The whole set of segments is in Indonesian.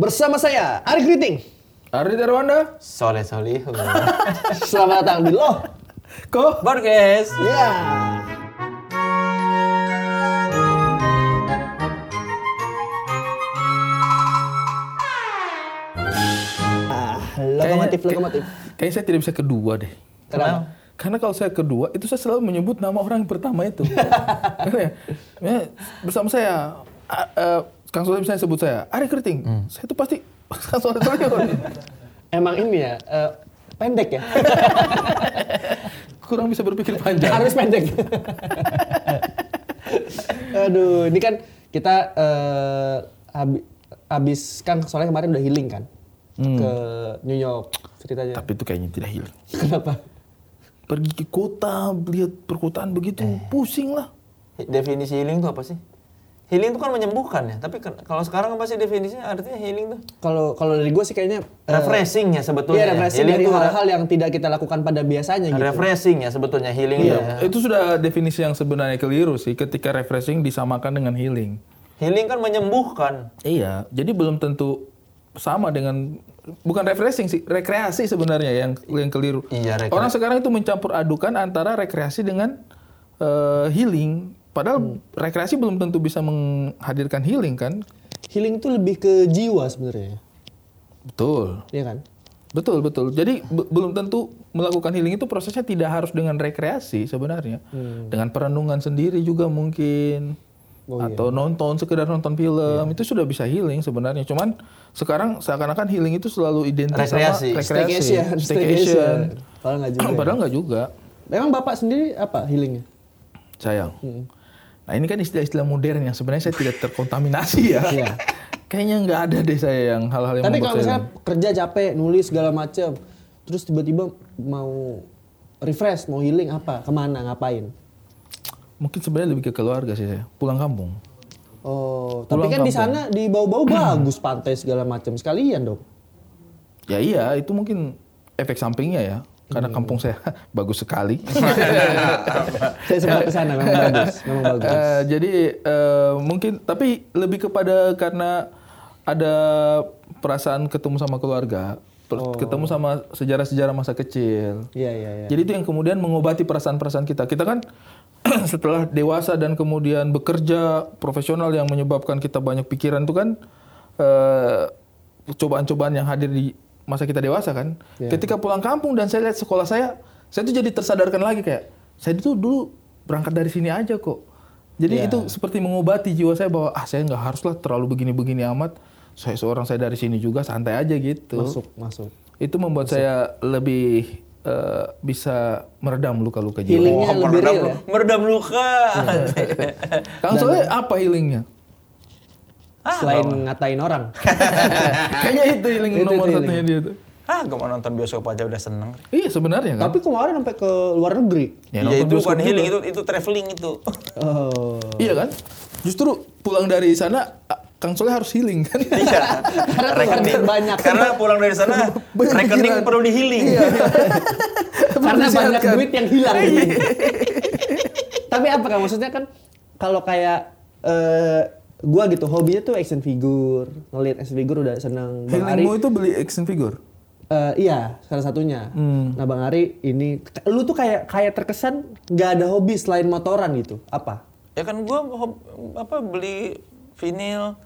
Bersama saya, Ari Kriting. Ari Darwanda. Soleh Solihun. Selamat datang di Loh. Ko. Podcast. Ya. Ah, Lokomotif, Kayaknya- lokomotif. Kayaknya saya tidak bisa kedua deh. Kenapa? Karena kalau saya kedua, itu saya selalu menyebut nama orang yang pertama itu. Karena ya, ya, bersama saya, a- eh, Kang Soleh misalnya sebut saya, Ari Kerting. Saya itu pasti Kang Soleh Solihun. Emang ini ya, eh, pendek ya? Kurang bisa berpikir panjang. Harus pendek. Aduh, ini kan kita eh, habi- habis kan soalnya kemarin udah healing kan ke New York ceritanya. Tapi itu kayaknya tidak hilang. Kenapa? Pergi ke kota, lihat perkotaan begitu, Eh. pusing lah. Definisi healing itu apa sih? Healing itu kan menyembuhkan ya, tapi ke- kalau sekarang apa sih definisinya? Artinya healing tuh Kalau kalau dari gue sih kayaknya eh, refreshing ya sebetulnya. Iya, refreshing Healing dari tuh hal-hal yang tidak kita lakukan pada biasanya gitu. Iya. refreshing ya sebetulnya healing tuh ya. Itu sudah definisi yang sebenarnya keliru sih, ketika refreshing disamakan dengan healing. Healing kan menyembuhkan. Iya, jadi belum tentu sama dengan bukan refreshing sih, rekreasi sebenarnya yang yang keliru. Iya, rekre- Orang sekarang itu mencampur adukan antara rekreasi dengan eh, healing. Padahal Hmm. rekreasi belum tentu bisa menghadirkan healing kan? Healing tuh lebih ke jiwa sebenarnya. Betul. Iya kan? Betul, betul. Jadi be- belum tentu melakukan healing itu prosesnya tidak harus dengan rekreasi sebenarnya. Hmm. Dengan perenungan sendiri juga mungkin. Oh, iya. atau nonton sekedar nonton film itu sudah bisa healing sebenarnya. Cuman sekarang seakan-akan healing itu selalu identik Rekreasi. sama rekreasi, Staycation, staycation. Kalau nggak juga. Padahal nggak juga. Emang bapak sendiri apa healingnya? Sayang. Hmm. Nah, ini kan istilah-istilah modern yang sebenarnya saya tidak terkontaminasi ya. Iya. Kayaknya nggak ada deh saya yang hal-hal yang Tapi membuat kalau saya- misalnya kerja capek, nulis segala macam, terus tiba-tiba mau refresh, mau healing apa? Kemana? Ngapain? mungkin sebenarnya lebih ke keluarga sih saya. Pulang kampung. Oh, tapi Pulang kan di kampung. sana di bau-bau bagus pantai segala macam sekalian dong. Ya iya, itu mungkin efek sampingnya ya. Karena kampung saya bagus sekali. Eh, Saya sempat ke sana memang bagus, memang bagus. Eh, jadi eh, mungkin tapi lebih kepada karena ada perasaan ketemu sama keluarga, per- ketemu sama sejarah-sejarah masa kecil. Iya, iya, iya. Jadi itu yang kemudian mengobati perasaan-perasaan kita. Kita kan setelah dewasa dan kemudian bekerja profesional yang menyebabkan kita banyak pikiran itu kan eh, cobaan-cobaan yang hadir di masa kita dewasa kan. Iya. Ketika pulang kampung dan saya lihat sekolah saya, saya tuh jadi tersadarkan lagi kayak saya itu dulu berangkat dari sini aja kok. Jadi Iya. itu seperti mengobati jiwa saya bahwa ah saya nggak haruslah terlalu begini-begini amat. Saya seorang saya dari sini juga santai aja gitu Masuk, masuk. itu membuat saya lebih eh, bisa meredam luka-luka jiwa. Healingnya lebih meredam, real ya. meredam luka. Iya. Kang Soleh apa healingnya? Ah. Selain ngatain orang. Eh, Kayaknya itu healing Itu- itu nomor healing. satunya dia tuh. ah, gak mau nonton bioskop aja udah seneng. Iya sebenarnya kan. tapi kemarin sampai ke luar negeri. Ya, Iya nonton itu bioskop bukan healing juga. itu itu traveling itu. Oh. Iya kan? Justru pulang dari sana ah, Kang Soleh harus healing kan? Iya. Karena keluarga banyak. Iya. Karena pulang dari sana Banyak rekening pikiran. perlu di healing. Eh, Karena banyak Disehatkan. duit yang hilang. Tapi apa kan maksudnya kan kalau kayak eh, gua gitu hobinya tuh action figure, ngelihat action figure udah seneng. Bang Ari Healingmu itu beli action figure. eh, iya salah satunya. Hmm. Nah Bang Ari ini lu tuh kayak kayak terkesan nggak ada hobi selain motoran gitu. Apa? Ya kan gua hob- apa beli vinil,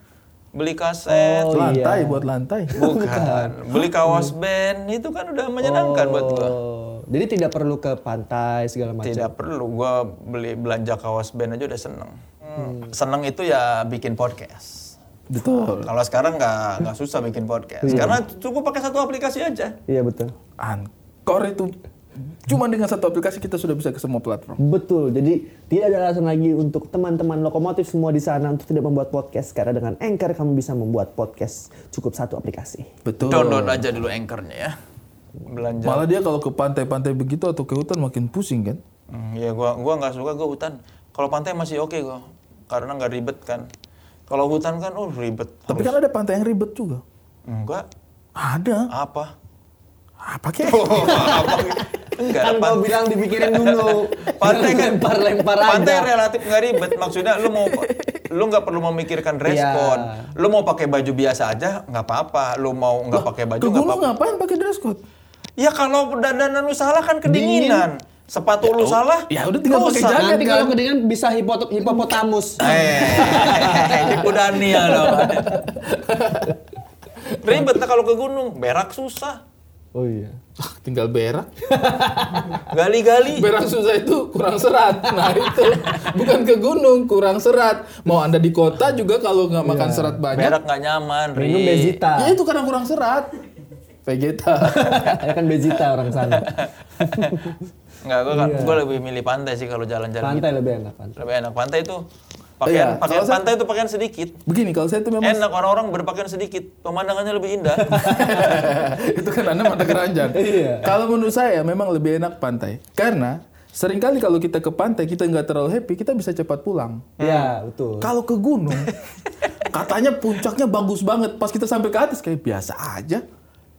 beli kaset, Oh, iya. lantai buat lantai. bukan, beli kaos band itu kan udah menyenangkan buat gua. Oh, Jadi tidak perlu ke pantai segala macam. Tidak perlu gua beli belanja kaos band aja udah seneng. Hmm, Seneng itu ya bikin podcast. Betul. Kalau sekarang nggak nggak susah bikin podcast karena cukup pakai satu aplikasi aja. Iya betul. Anchor itu cuma dengan satu aplikasi kita sudah bisa ke semua platform. Betul. Jadi tidak ada alasan lagi untuk teman-teman lokomotif semua di sana untuk tidak membuat podcast karena dengan Anchor kamu bisa membuat podcast cukup satu aplikasi. Betul. Download aja dulu anchornya ya. Belanja. Malah dia kalau ke pantai-pantai begitu atau ke hutan makin pusing kan? Hmm, ya gua gua nggak suka gua hutan. Kalau pantai masih oke gua karena nggak ribet kan. Kalau hutan kan oh ribet. Tapi kan ada pantai yang ribet juga. Enggak. Ada. Apa? Apa kek? Enggak ada Kan pantai. gua bilang dipikirin dulu. Pantai kan lempar lempar aja. Pantai relatif nggak ribet. Maksudnya lu mau lu nggak perlu memikirkan dress Iya. code. Lu mau pakai baju biasa aja nggak apa-apa. Lu mau nggak pakai baju Ke nggak gunung apa-apa. ngapain pakai dress code? Ya kalau dandanan lu salah kan kedinginan. Sepatu lu salah. ya udah tinggal pakai rusak. jaket. Nanti kalau kedinginan bisa hipot hipopotamus. Eh, tipu Dania dong. Ribet lah kalau ke gunung, berak susah. Oh iya. Ah, tinggal berak. Gali-gali. Berak susah itu kurang serat. Nah itu bukan ke gunung, kurang serat. Mau anda di kota juga kalau nggak makan serat banyak, Berak nggak nyaman, Ri. Minum Bezita. ya itu karena kurang serat. Vegeta. ya kan Bezita orang sana. Nggak, gua, Iya. gua lebih milih pantai sih kalau jalan-jalan. gitu. Pantai lebih enak pantai. Lebih enak pantai itu. Pakaian, Iya, pakaian kalau saya- Iya, pantai itu pakaian sedikit. Begini kalau saya itu memang Enak orang-orang berpakaian sedikit, pemandangannya lebih indah. itu kan anda mata keranjang. Iya. Kalau menurut saya memang lebih enak pantai karena seringkali kalau kita ke pantai kita nggak terlalu happy kita bisa cepat pulang. Iya, betul. Kalau ke gunung, katanya puncaknya bagus banget. Pas kita sampai ke atas kayak biasa aja.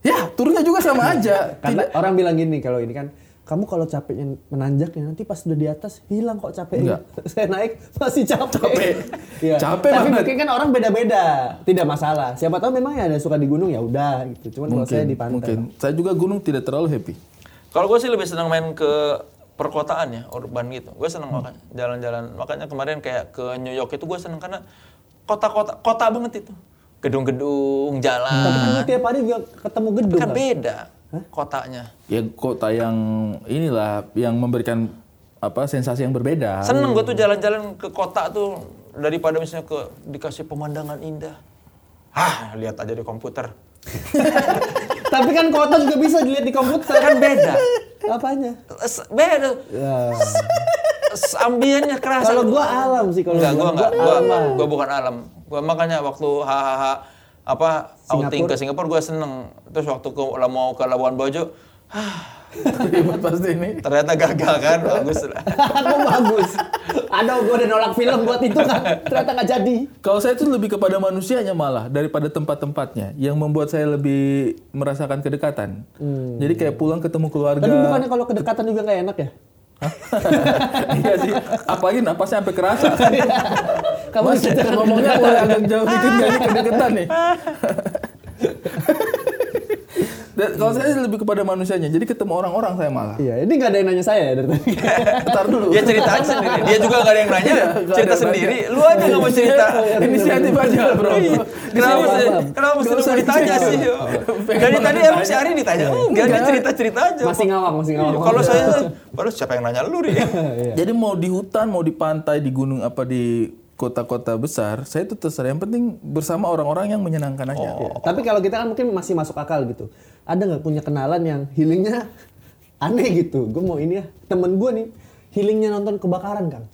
Ya, turunnya juga sama aja. Karena orang bilang gini kalau ini kan kamu kalau capeknya menanjak ya nanti pas udah di atas hilang kok capeknya. Saya naik masih capek. Capek. Iya. Capek Tapi banget. mungkin kan orang beda-beda, tidak masalah. Siapa tahu memang yang ada yang suka di gunung ya udah gitu. Cuman kalau saya di pantai. mungkin. Saya juga gunung tidak terlalu happy. kalau gue sih lebih senang main ke perkotaan ya, urban gitu. Gue senang Hmm. makan jalan-jalan. Makanya kemarin kayak ke New York itu gue senang karena kota-kota kota banget itu. Gedung-gedung, Tapi kan jalan. lu ya, tiap hari juga ketemu gedung. Kan kan? beda kotanya. Ya kota yang inilah yang memberikan apa sensasi yang berbeda. Seneng gue tuh jalan-jalan ke kota tuh daripada misalnya ke dikasih pemandangan indah. Hah, lihat aja di komputer. Tapi kan kota juga bisa dilihat di komputer kan beda. Apanya? Ya. Es- Beda. Es- Ambiennya kerasa. Kalau gua alam sih kalau Enggak, gua gua. enggak. Gua Gua, alam. gua bukan alam. Gua makanya waktu hahaha apa outing Singapura. ke Singapura gua seneng. Terus waktu ke mau ke Labuan Bajo, Ribet pasti ini. ternyata gagal kan. Bagus lah. Aku bagus. Aduh, gua udah nolak film buat itu kan. Ternyata nggak jadi. Kalau saya itu lebih kepada manusianya malah daripada tempat-tempatnya yang membuat saya lebih merasakan kedekatan. Jadi kayak pulang ketemu keluarga. Hmm. Tapi bukannya kalau kedekatan juga nggak enak ya? iya sih. Apalagi napasnya sampai kerasa. Kamu Mas, bisa ngomongnya mulai agak jauh dikit nggak nih kedeketan nih. Dan kalau saya lebih kepada manusianya, jadi ketemu orang-orang saya malah. Iya, ini nggak ada yang nanya saya ya dari tadi. Ntar dulu. Dia cerita aja sendiri. Dia juga gak ada yang nanya. Iya, nggak ada cerita yang sendiri. Lu aja gak mau cerita. Iya, Iya, Inisiatif aja, bro. Iya. Kenapa Kenapa? mesti kenapa Nggak mesti lu usah ditanya dicek. sih? Pengen Dari tadi banget emang si Ari ditanya. Enggak, dia cerita-cerita aja. Masih ngawang, masih ngawang. Kalau saya, baru siapa yang nanya lu, Ri? Jadi mau di hutan, mau di pantai, di gunung apa di kota-kota besar, saya itu terserah. Yang penting bersama orang-orang yang menyenangkan Iya, aja. Oh. Tapi kalau kita kan mungkin masih masuk akal gitu. Ada nggak punya kenalan yang healingnya aneh gitu? Gue mau ini ya. Temen gue nih healingnya nonton kebakaran kang.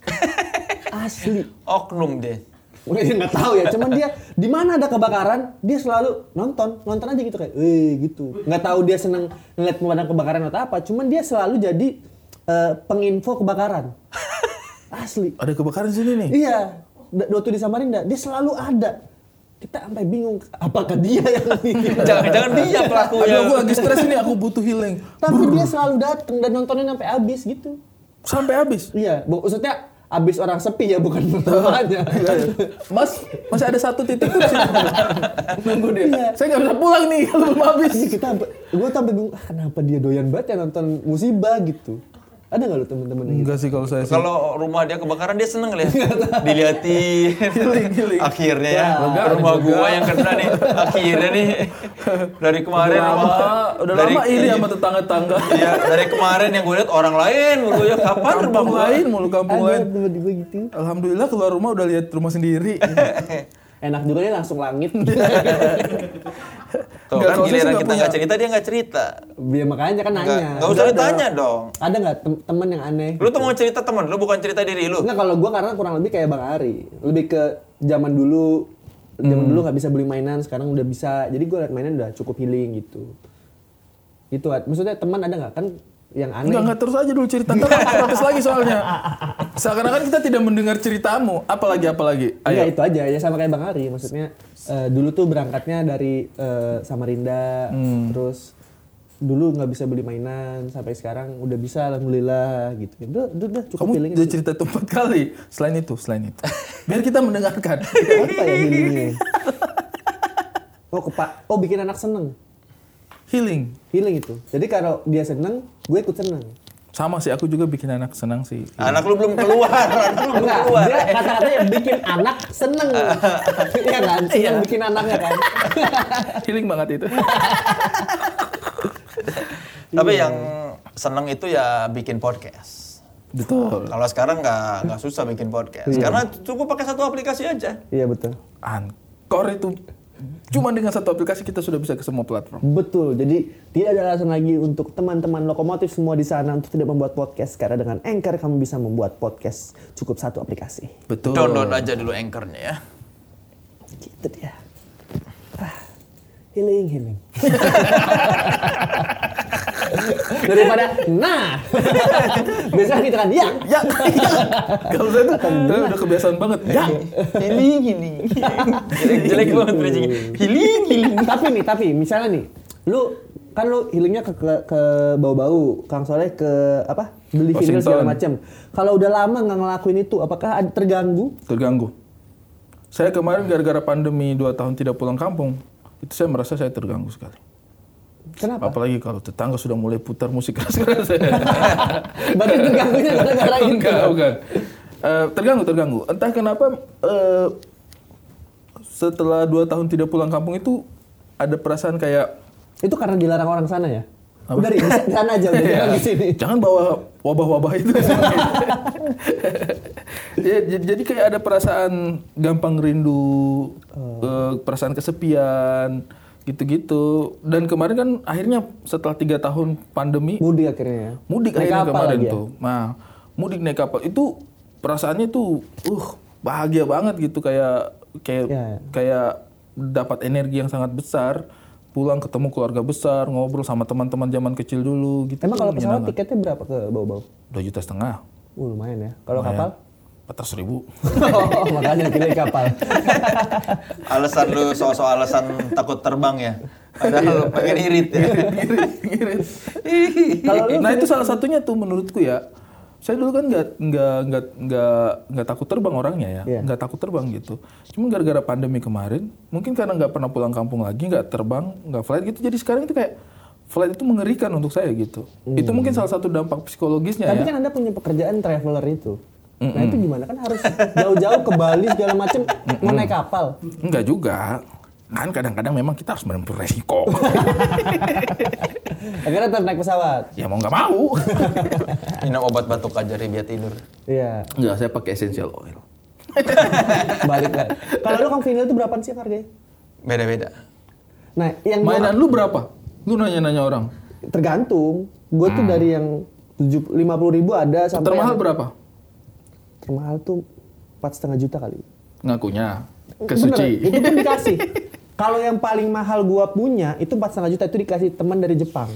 Asli. Oknum deh. Mungkin dia nggak tahu ya. Cuman dia di mana ada kebakaran dia selalu nonton nonton aja gitu kayak, eh gitu. Nggak tahu dia seneng ngeliat pemadam kebakaran atau apa. Cuman dia selalu jadi eh, penginfo kebakaran. Asli. Ada kebakaran di sini nih. Iya, D- waktu di Samarinda dia selalu ada. Kita sampai bingung apakah dia yang bikin. Iya. Jangan-jangan dia Aduh, aku pelakunya. lagi stres ini, aku butuh healing. Tapi dia selalu datang dan nontonin sampai habis gitu. Sampai habis. Iya, bu- maksudnya habis orang sepi ya bukan pertamanya. Iya, Mas, masih ada satu titik tuh di sini. Nunggu dia. Iya. Saya nggak bisa pulang nih kalau belum habis. Ini kita, gue sampai bingung ah, kenapa dia doyan banget ya nonton musibah gitu. Ada nggak lu temen-temen yang gitu? Enggak sih kalau saya sih. Kalau rumah dia kebakaran dia seneng lihat, diliatin. Akhirnya ya, Enggak, rumah enggak. gua yang kena nih. Akhirnya nih dari kemarin lama, udah dari- lama ini ya. sama tetangga-tetangga. Iya, dari kemarin yang gue lihat orang lain, gue ya kapan rumah Kampung gue? lain, mulu kampung Ada lain. temen gue gitu. Alhamdulillah keluar rumah udah lihat rumah sendiri. Enak juga dia langsung langit. Tuh Nggak, kan kalau saya sih giliran nggak kita punya. nggak cerita dia nggak cerita. Biar makanya kan Nggak nanya. nggak usah ditanya dong. Ada nggak tem- temen yang aneh? Lu tuh mau cerita teman, lu bukan cerita diri lu. Enggak kalau gua karena kurang lebih kayak Bang Ari, lebih ke zaman dulu zaman dulu nggak bisa beli mainan, sekarang udah bisa. Jadi gua liat mainan udah cukup healing gitu. Itu Ad. maksudnya teman ada nggak kan yang aneh? Enggak, enggak terus aja dulu cerita. Ntar aku protes lagi soalnya. Seakan-akan kita tidak mendengar ceritamu. Apalagi, apalagi. Iya Ayo. itu aja ya sama kayak Bang Ari Hmm. maksudnya eh, dulu tuh berangkatnya dari eh, Samarinda terus dulu nggak bisa beli mainan sampai sekarang udah bisa alhamdulillah gitu. Ya udah udah, udah, cukup Kamu feeling udah cerita itu empat kali. Selain itu, selain itu. Biar kita mendengarkan. apa ya healingnya? Oh kepa oh bikin anak seneng Healing. healing itu. Jadi kalau dia seneng, gue ikut seneng. Sama sih, aku juga bikin anak senang sih. Iya. Anak lu belum keluar, anak lu belum Enggak, keluar. dia kata-katanya bikin anak seneng. Iya kan? Seneng bikin anaknya kan? Healing banget itu. Tapi Iya. yang seneng itu ya bikin podcast. Betul. Kalau sekarang nggak nggak susah bikin podcast, karena cukup pakai satu aplikasi aja. Iya betul. Anchor itu cuma dengan satu aplikasi kita sudah bisa ke semua platform. Betul. Jadi tidak ada alasan lagi untuk teman-teman lokomotif semua di sana untuk tidak membuat podcast karena dengan Anchor kamu bisa membuat podcast cukup satu aplikasi. Betul. Download aja dulu anchornya ya. Gitu dia. Ah, healing healing. Daripada nah. Biasanya kita kan ya. Ya, iya. kalau saya tuh saya udah kebiasaan banget. Ya, Healing, healing. jelek, jelek banget bridging. Healing, healing. tapi nih, tapi misalnya nih, lu kan lu healingnya ke ke, ke bau-bau, Kang Soleh ke apa? Beli vinyl segala Washington. macam. Kalau udah lama nggak ngelakuin itu, apakah ada terganggu? terganggu. Saya kemarin gara-gara pandemi dua tahun tidak pulang kampung, itu saya merasa saya terganggu sekali. Kenapa? Apalagi kalau tetangga sudah mulai putar musik keras-keras. Berarti terganggunya gara-gara itu. Enggak, bukan. Eh, terganggu, terganggu. Entah kenapa eh, setelah dua tahun tidak pulang kampung itu ada perasaan kayak Itu karena dilarang orang sana ya? Udah Ri, di di sana aja, udah Iya. jangan di sini. Jangan bawa wabah-wabah itu. Ya, j- jadi kayak ada perasaan gampang rindu, Oh. eh, perasaan kesepian, gitu-gitu. Dan kemarin kan akhirnya setelah tiga tahun pandemi, Mudik akhirnya ya. mudik Naik akhirnya kapal kemarin lagi ya? tuh. Nah, mudik naik kapal itu perasaannya tuh, uh, bahagia banget gitu kayak kayak Iya, iya. kayak dapat energi yang sangat besar. Pulang ketemu keluarga besar, ngobrol sama teman-teman zaman kecil dulu gitu. Emang tuh kalau pesawat menyenangkan. tiketnya berapa ke bau-bau? dua juta setengah Uh, lumayan ya. Kalau kapal? empat ratus ribu oh, makanya pilih kapal. Alasan lu soal-soal alasan takut terbang ya. Padahal lu pengen irit ya. Kalau lu nah itu salah satunya tuh menurutku ya saya dulu kan nggak nggak nggak nggak nggak takut terbang orangnya ya Iya. nggak takut terbang gitu cuma gara-gara pandemi kemarin mungkin karena nggak pernah pulang kampung lagi nggak terbang nggak flight gitu jadi sekarang itu kayak flight itu mengerikan untuk saya gitu itu mungkin salah satu dampak psikologisnya Hmm. Tapi ya kan Anda punya pekerjaan traveler itu. Nah itu gimana kan harus jauh-jauh ke Bali segala macem mau naik kapal. nggak juga kan kadang-kadang memang kita harus menempuh resiko Akhirnya tetap naik pesawat. ya mau nggak mau Minum obat batuk aja deh biar tidur. Iya, nggak saya pakai essential oil balik lah. Kalau lu Kang Vinyl itu berapaan sih yang harganya? Beda-beda. Nah, yang gua- Mainan lu berapa? Lu nanya-nanya orang. tergantung. Gue tuh dari yang 50 ribu ada sampai Mm. Termahal yang- berapa? termahal tuh empat setengah juta kali. Ngakunya ke Bener, suci. itu pun dikasih. Kalau yang paling mahal gua punya itu empat setengah juta itu dikasih teman dari Jepang.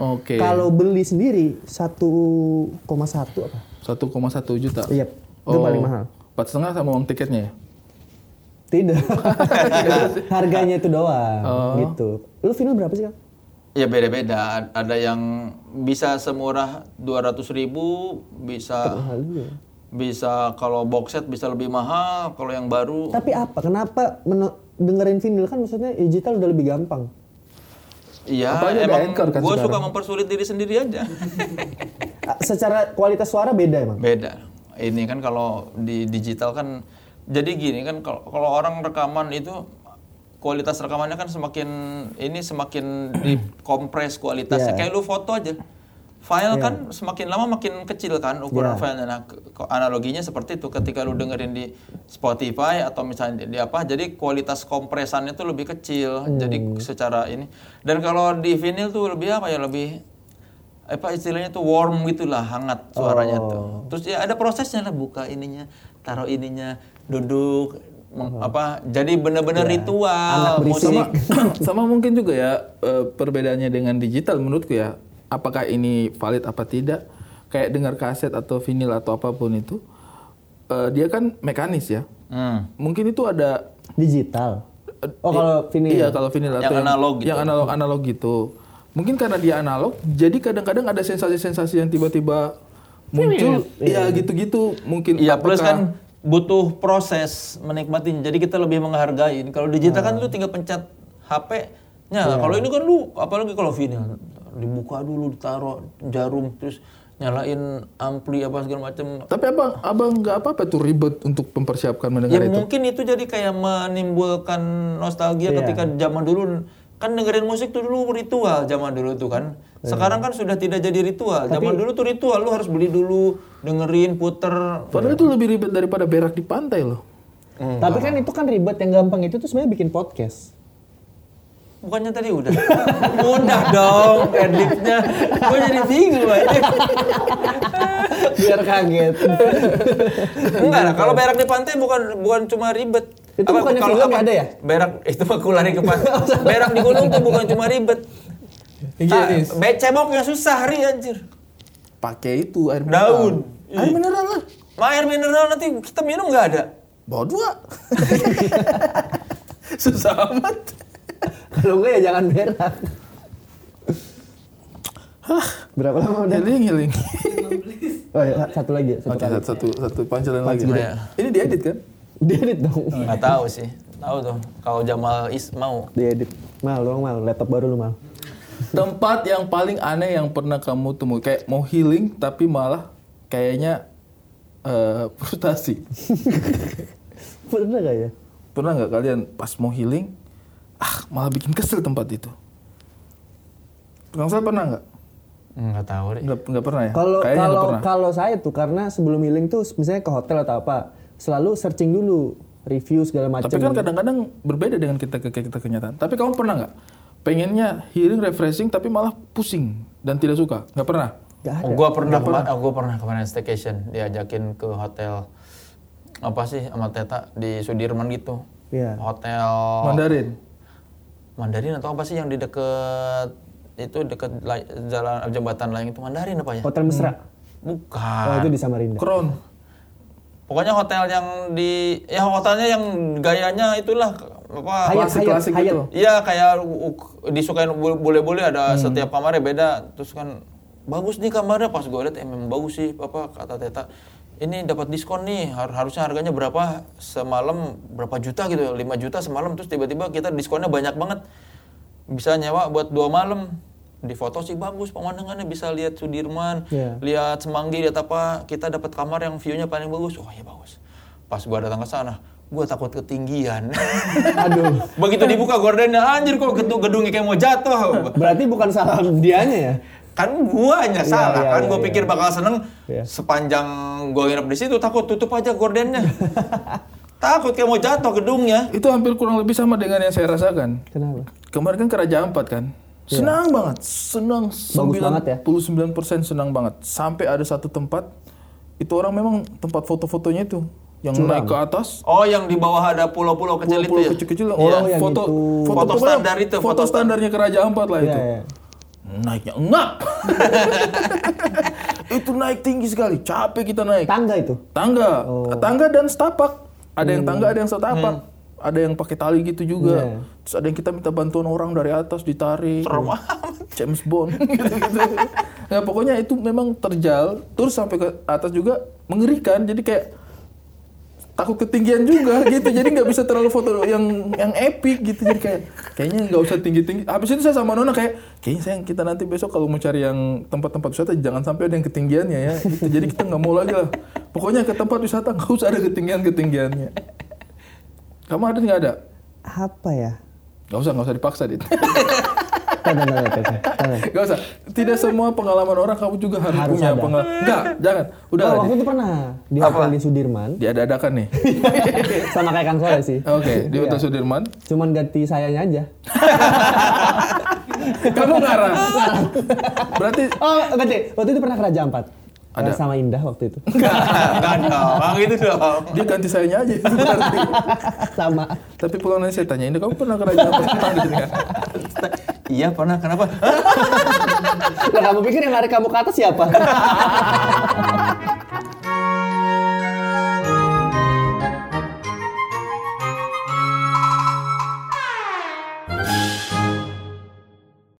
Oke. Kalau beli sendiri 1,1 apa? 1,1 juta. Iya, itu Oh. paling mahal. 4,5 sama uang tiketnya ya? Tidak. Harganya itu doang Oh. gitu. Lu vinyl berapa sih, Kang? Ya beda-beda. Ad- Ada yang bisa semurah 200.000 ribu, bisa Mahal juga. bisa kalau box set bisa lebih mahal, kalau yang baru Tapi apa? Kenapa meno- dengerin vinyl kan maksudnya digital udah lebih gampang. Iya, Apalagi ada emang anchor kan gue sekarang. suka mempersulit diri sendiri aja. Ah, Secara kualitas suara beda emang. Beda. Ini kan kalau di digital kan, jadi gini kan kalau kalau orang rekaman itu kualitas rekamannya kan semakin ini semakin dikompres kualitasnya. Iya. Kayak lu foto aja. File kan semakin lama makin kecil kan ukuran Iya. filenya. Nah, ke- ke- analoginya seperti itu ketika lu dengerin di Spotify atau misalnya di apa, jadi kualitas kompresannya tuh lebih kecil. Hmm. Jadi secara ini. Dan kalau di vinyl tuh lebih apa ya lebih apa istilahnya tuh warm gitulah hangat suaranya tuh Oh. terus ya ada prosesnya lah buka ininya taruh ininya duduk meng- apa jadi bener-bener Iya. Anak ritual berisik. musik sama mungkin juga ya eh, perbedaannya dengan digital menurutku ya. Apakah ini valid apa tidak? Kayak dengar kaset atau vinil atau apapun itu, eh, dia kan mekanis ya. Hmm. Mungkin itu ada Eh, Digital. Oh, kalau vinyl. Iya, kalau vinyl Yang analog gitu. Yang analog analog gitu. mungkin karena dia analog, jadi kadang-kadang ada sensasi-sensasi yang tiba-tiba muncul, ya gitu-gitu mungkin. Iya plus apakah- kan butuh proses menikmati. Jadi kita lebih menghargai. Kalau digital kan lu tinggal pencet HP nyala. Kalau ini kan lu apalagi kalau vinyl dibuka dulu ditaruh jarum terus nyalain ampli apa segala macam. Tapi abang, abang nggak apa-apa tuh ribet untuk mempersiapkan mendengar Ya itu. mungkin itu jadi kayak menimbulkan nostalgia ketika zaman dulu kan dengerin musik tuh dulu ritual zaman dulu tuh kan. Sekarang kan sudah tidak jadi ritual. zaman dulu tuh ritual lu harus beli dulu, dengerin, puter. Padahal itu lebih ribet daripada berak di pantai loh. Tapi kan itu kan ribet yang gampang itu tuh sebenarnya bikin podcast. Bukannya tadi udah? udah dong editnya. Gue jadi bingung aja. Biar kaget. Enggak lah, kalau berak di pantai bukan bukan cuma ribet. Itu bukannya film ada ya? Berak itu aku lari ke pantai. berak di gunung tuh bukan cuma ribet. Iya, Ah, be- ceboknya susah hari anjir. Pakai itu air mineral. Daun. Air mineral lah. Ma, air mineral nanti kita minum nggak ada. Bawa dua. Susah amat. Kalau enggak ya jangan berak. Berapa lama udah? Healing, healing. Oh, ya, satu lagi, satu Oke, kali. satu, satu, satu pancelan lagi. Iya. Ini diedit kan? Diedit dong. Nggak tahu sih. Tahu tuh kalau Jamal Is mau. Diedit. Mal, dong mal, laptop baru lu mal. Tempat yang paling aneh yang pernah kamu temui. Kayak mau healing tapi malah kayaknya eh frustasi. Pernah gak ya? Pernah nggak kalian pas mau healing, ah malah bikin kesel tempat itu? Kang Sal pernah nggak? Nggak tahu deh. Nggak, nggak pernah ya? Kalau Kayaknya nggak kalau pernah. kalau saya tuh karena sebelum healing tuh misalnya ke hotel atau apa, selalu searching dulu review segala macam. Tapi kan kadang-kadang berbeda dengan kita ke kita kenyataan. Tapi kamu pernah nggak? Pengennya healing, refreshing, tapi malah pusing dan tidak suka. Nggak pernah. Gak ada. Oh, gua pernah, kema- oh, gua pernah kemarin staycation diajakin ke hotel apa sih sama Teta di Sudirman gitu. Iya. Hotel Mandarin. Mandarin atau apa sih yang di deket itu deket lay- jalan jembatan lain itu Mandarin apa ya? Hotel mesra. Bukan. Oh, itu di Samarinda. Crown. Pokoknya hotel yang di ya hotelnya yang gayanya itulah apa Hayat, Klasik klasik hayat, gitu. Iya kayak u- u- disukain boleh-boleh ada setiap kamarnya beda. Terus kan bagus nih kamarnya pas gue liat eh, memang bagus sih apa kata Teta. Ini dapat diskon nih har- harusnya harganya berapa semalam berapa juta gitu 5 juta semalam terus tiba-tiba kita diskonnya banyak banget bisa nyewa buat dua malam di foto sih bagus pemandangannya bisa lihat Sudirman Iya. lihat Semanggi lihat apa kita dapat kamar yang view-nya paling bagus oh iya bagus pas gua datang ke sana gua takut ketinggian Aduh. Begitu dibuka gordennya, anjir kok gedung gedungnya kayak mau jatuh. Berarti bukan salah dianya ya? Kan guanya salah, iya, kan iya, gua iya. pikir bakal seneng Iya. sepanjang gua nginep di situ takut tutup aja gordennya. takut kayak mau jatuh gedungnya. Itu hampir kurang lebih sama dengan yang saya rasakan. Kenapa? Kemarin kan Kerajaan Empat kan. Senang banget, senang Iya. banget ya. 99% senang banget. Sampai ada satu tempat itu orang memang tempat foto-fotonya itu yang naik ke atas Oh, yang di bawah ada pulau-pulau kecil pulau-pulau itu ya. kecil-kecil Iya. orang Oh, yang foto, itu. foto Foto pokoknya standar itu, foto, foto standarnya kerajaan empat lah Iya, itu iya. naiknya ngap itu naik tinggi sekali capek kita naik Tangga itu. tangga tangga dan setapak ada yang tangga ada yang setapak ada yang pakai tali gitu juga Iya. terus ada yang kita minta bantuan orang dari atas ditarik James Bond gitu-gitu nah pokoknya itu memang terjal terus sampai ke atas juga mengerikan jadi kayak takut ketinggian juga gitu jadi nggak bisa terlalu foto yang yang epic gitu jadi kayak kayaknya nggak usah tinggi tinggi habis itu saya sama Nona kayak kayaknya sayang kita nanti besok kalau mau cari yang tempat-tempat wisata jangan sampai ada yang ketinggiannya ya gitu. jadi kita nggak mau lagi lah pokoknya ke tempat wisata nggak usah ada ketinggian ketinggiannya kamu ada nggak ada Apa ya? nggak usah nggak usah dipaksa dit Tanda, tanda, tanda, tanda. nggak usah tidak semua pengalaman orang kamu juga harus, Harus punya ada. pengalaman nggak jangan udah Oh, lah, waktu Dit. itu pernah di hotel di Sudirman diada-adakan nih sama kayak Kang Soleh sih. oke di Hotel Iya. Sudirman Cuman ganti sayanya aja. kamu ngarang berarti Oh, ganti. Waktu itu pernah ke Raja Ampat. Ada. Ada. Sama Indah waktu itu. Enggak dong, gitu dong. dia ganti sayanya aja berarti. sama. tapi pulang nanti saya tanya ini kamu pernah kerajaan apa tentang gitu kan Iya pernah, kenapa? Nah, Lah kamu pikir yang narik kamu ke atas siapa?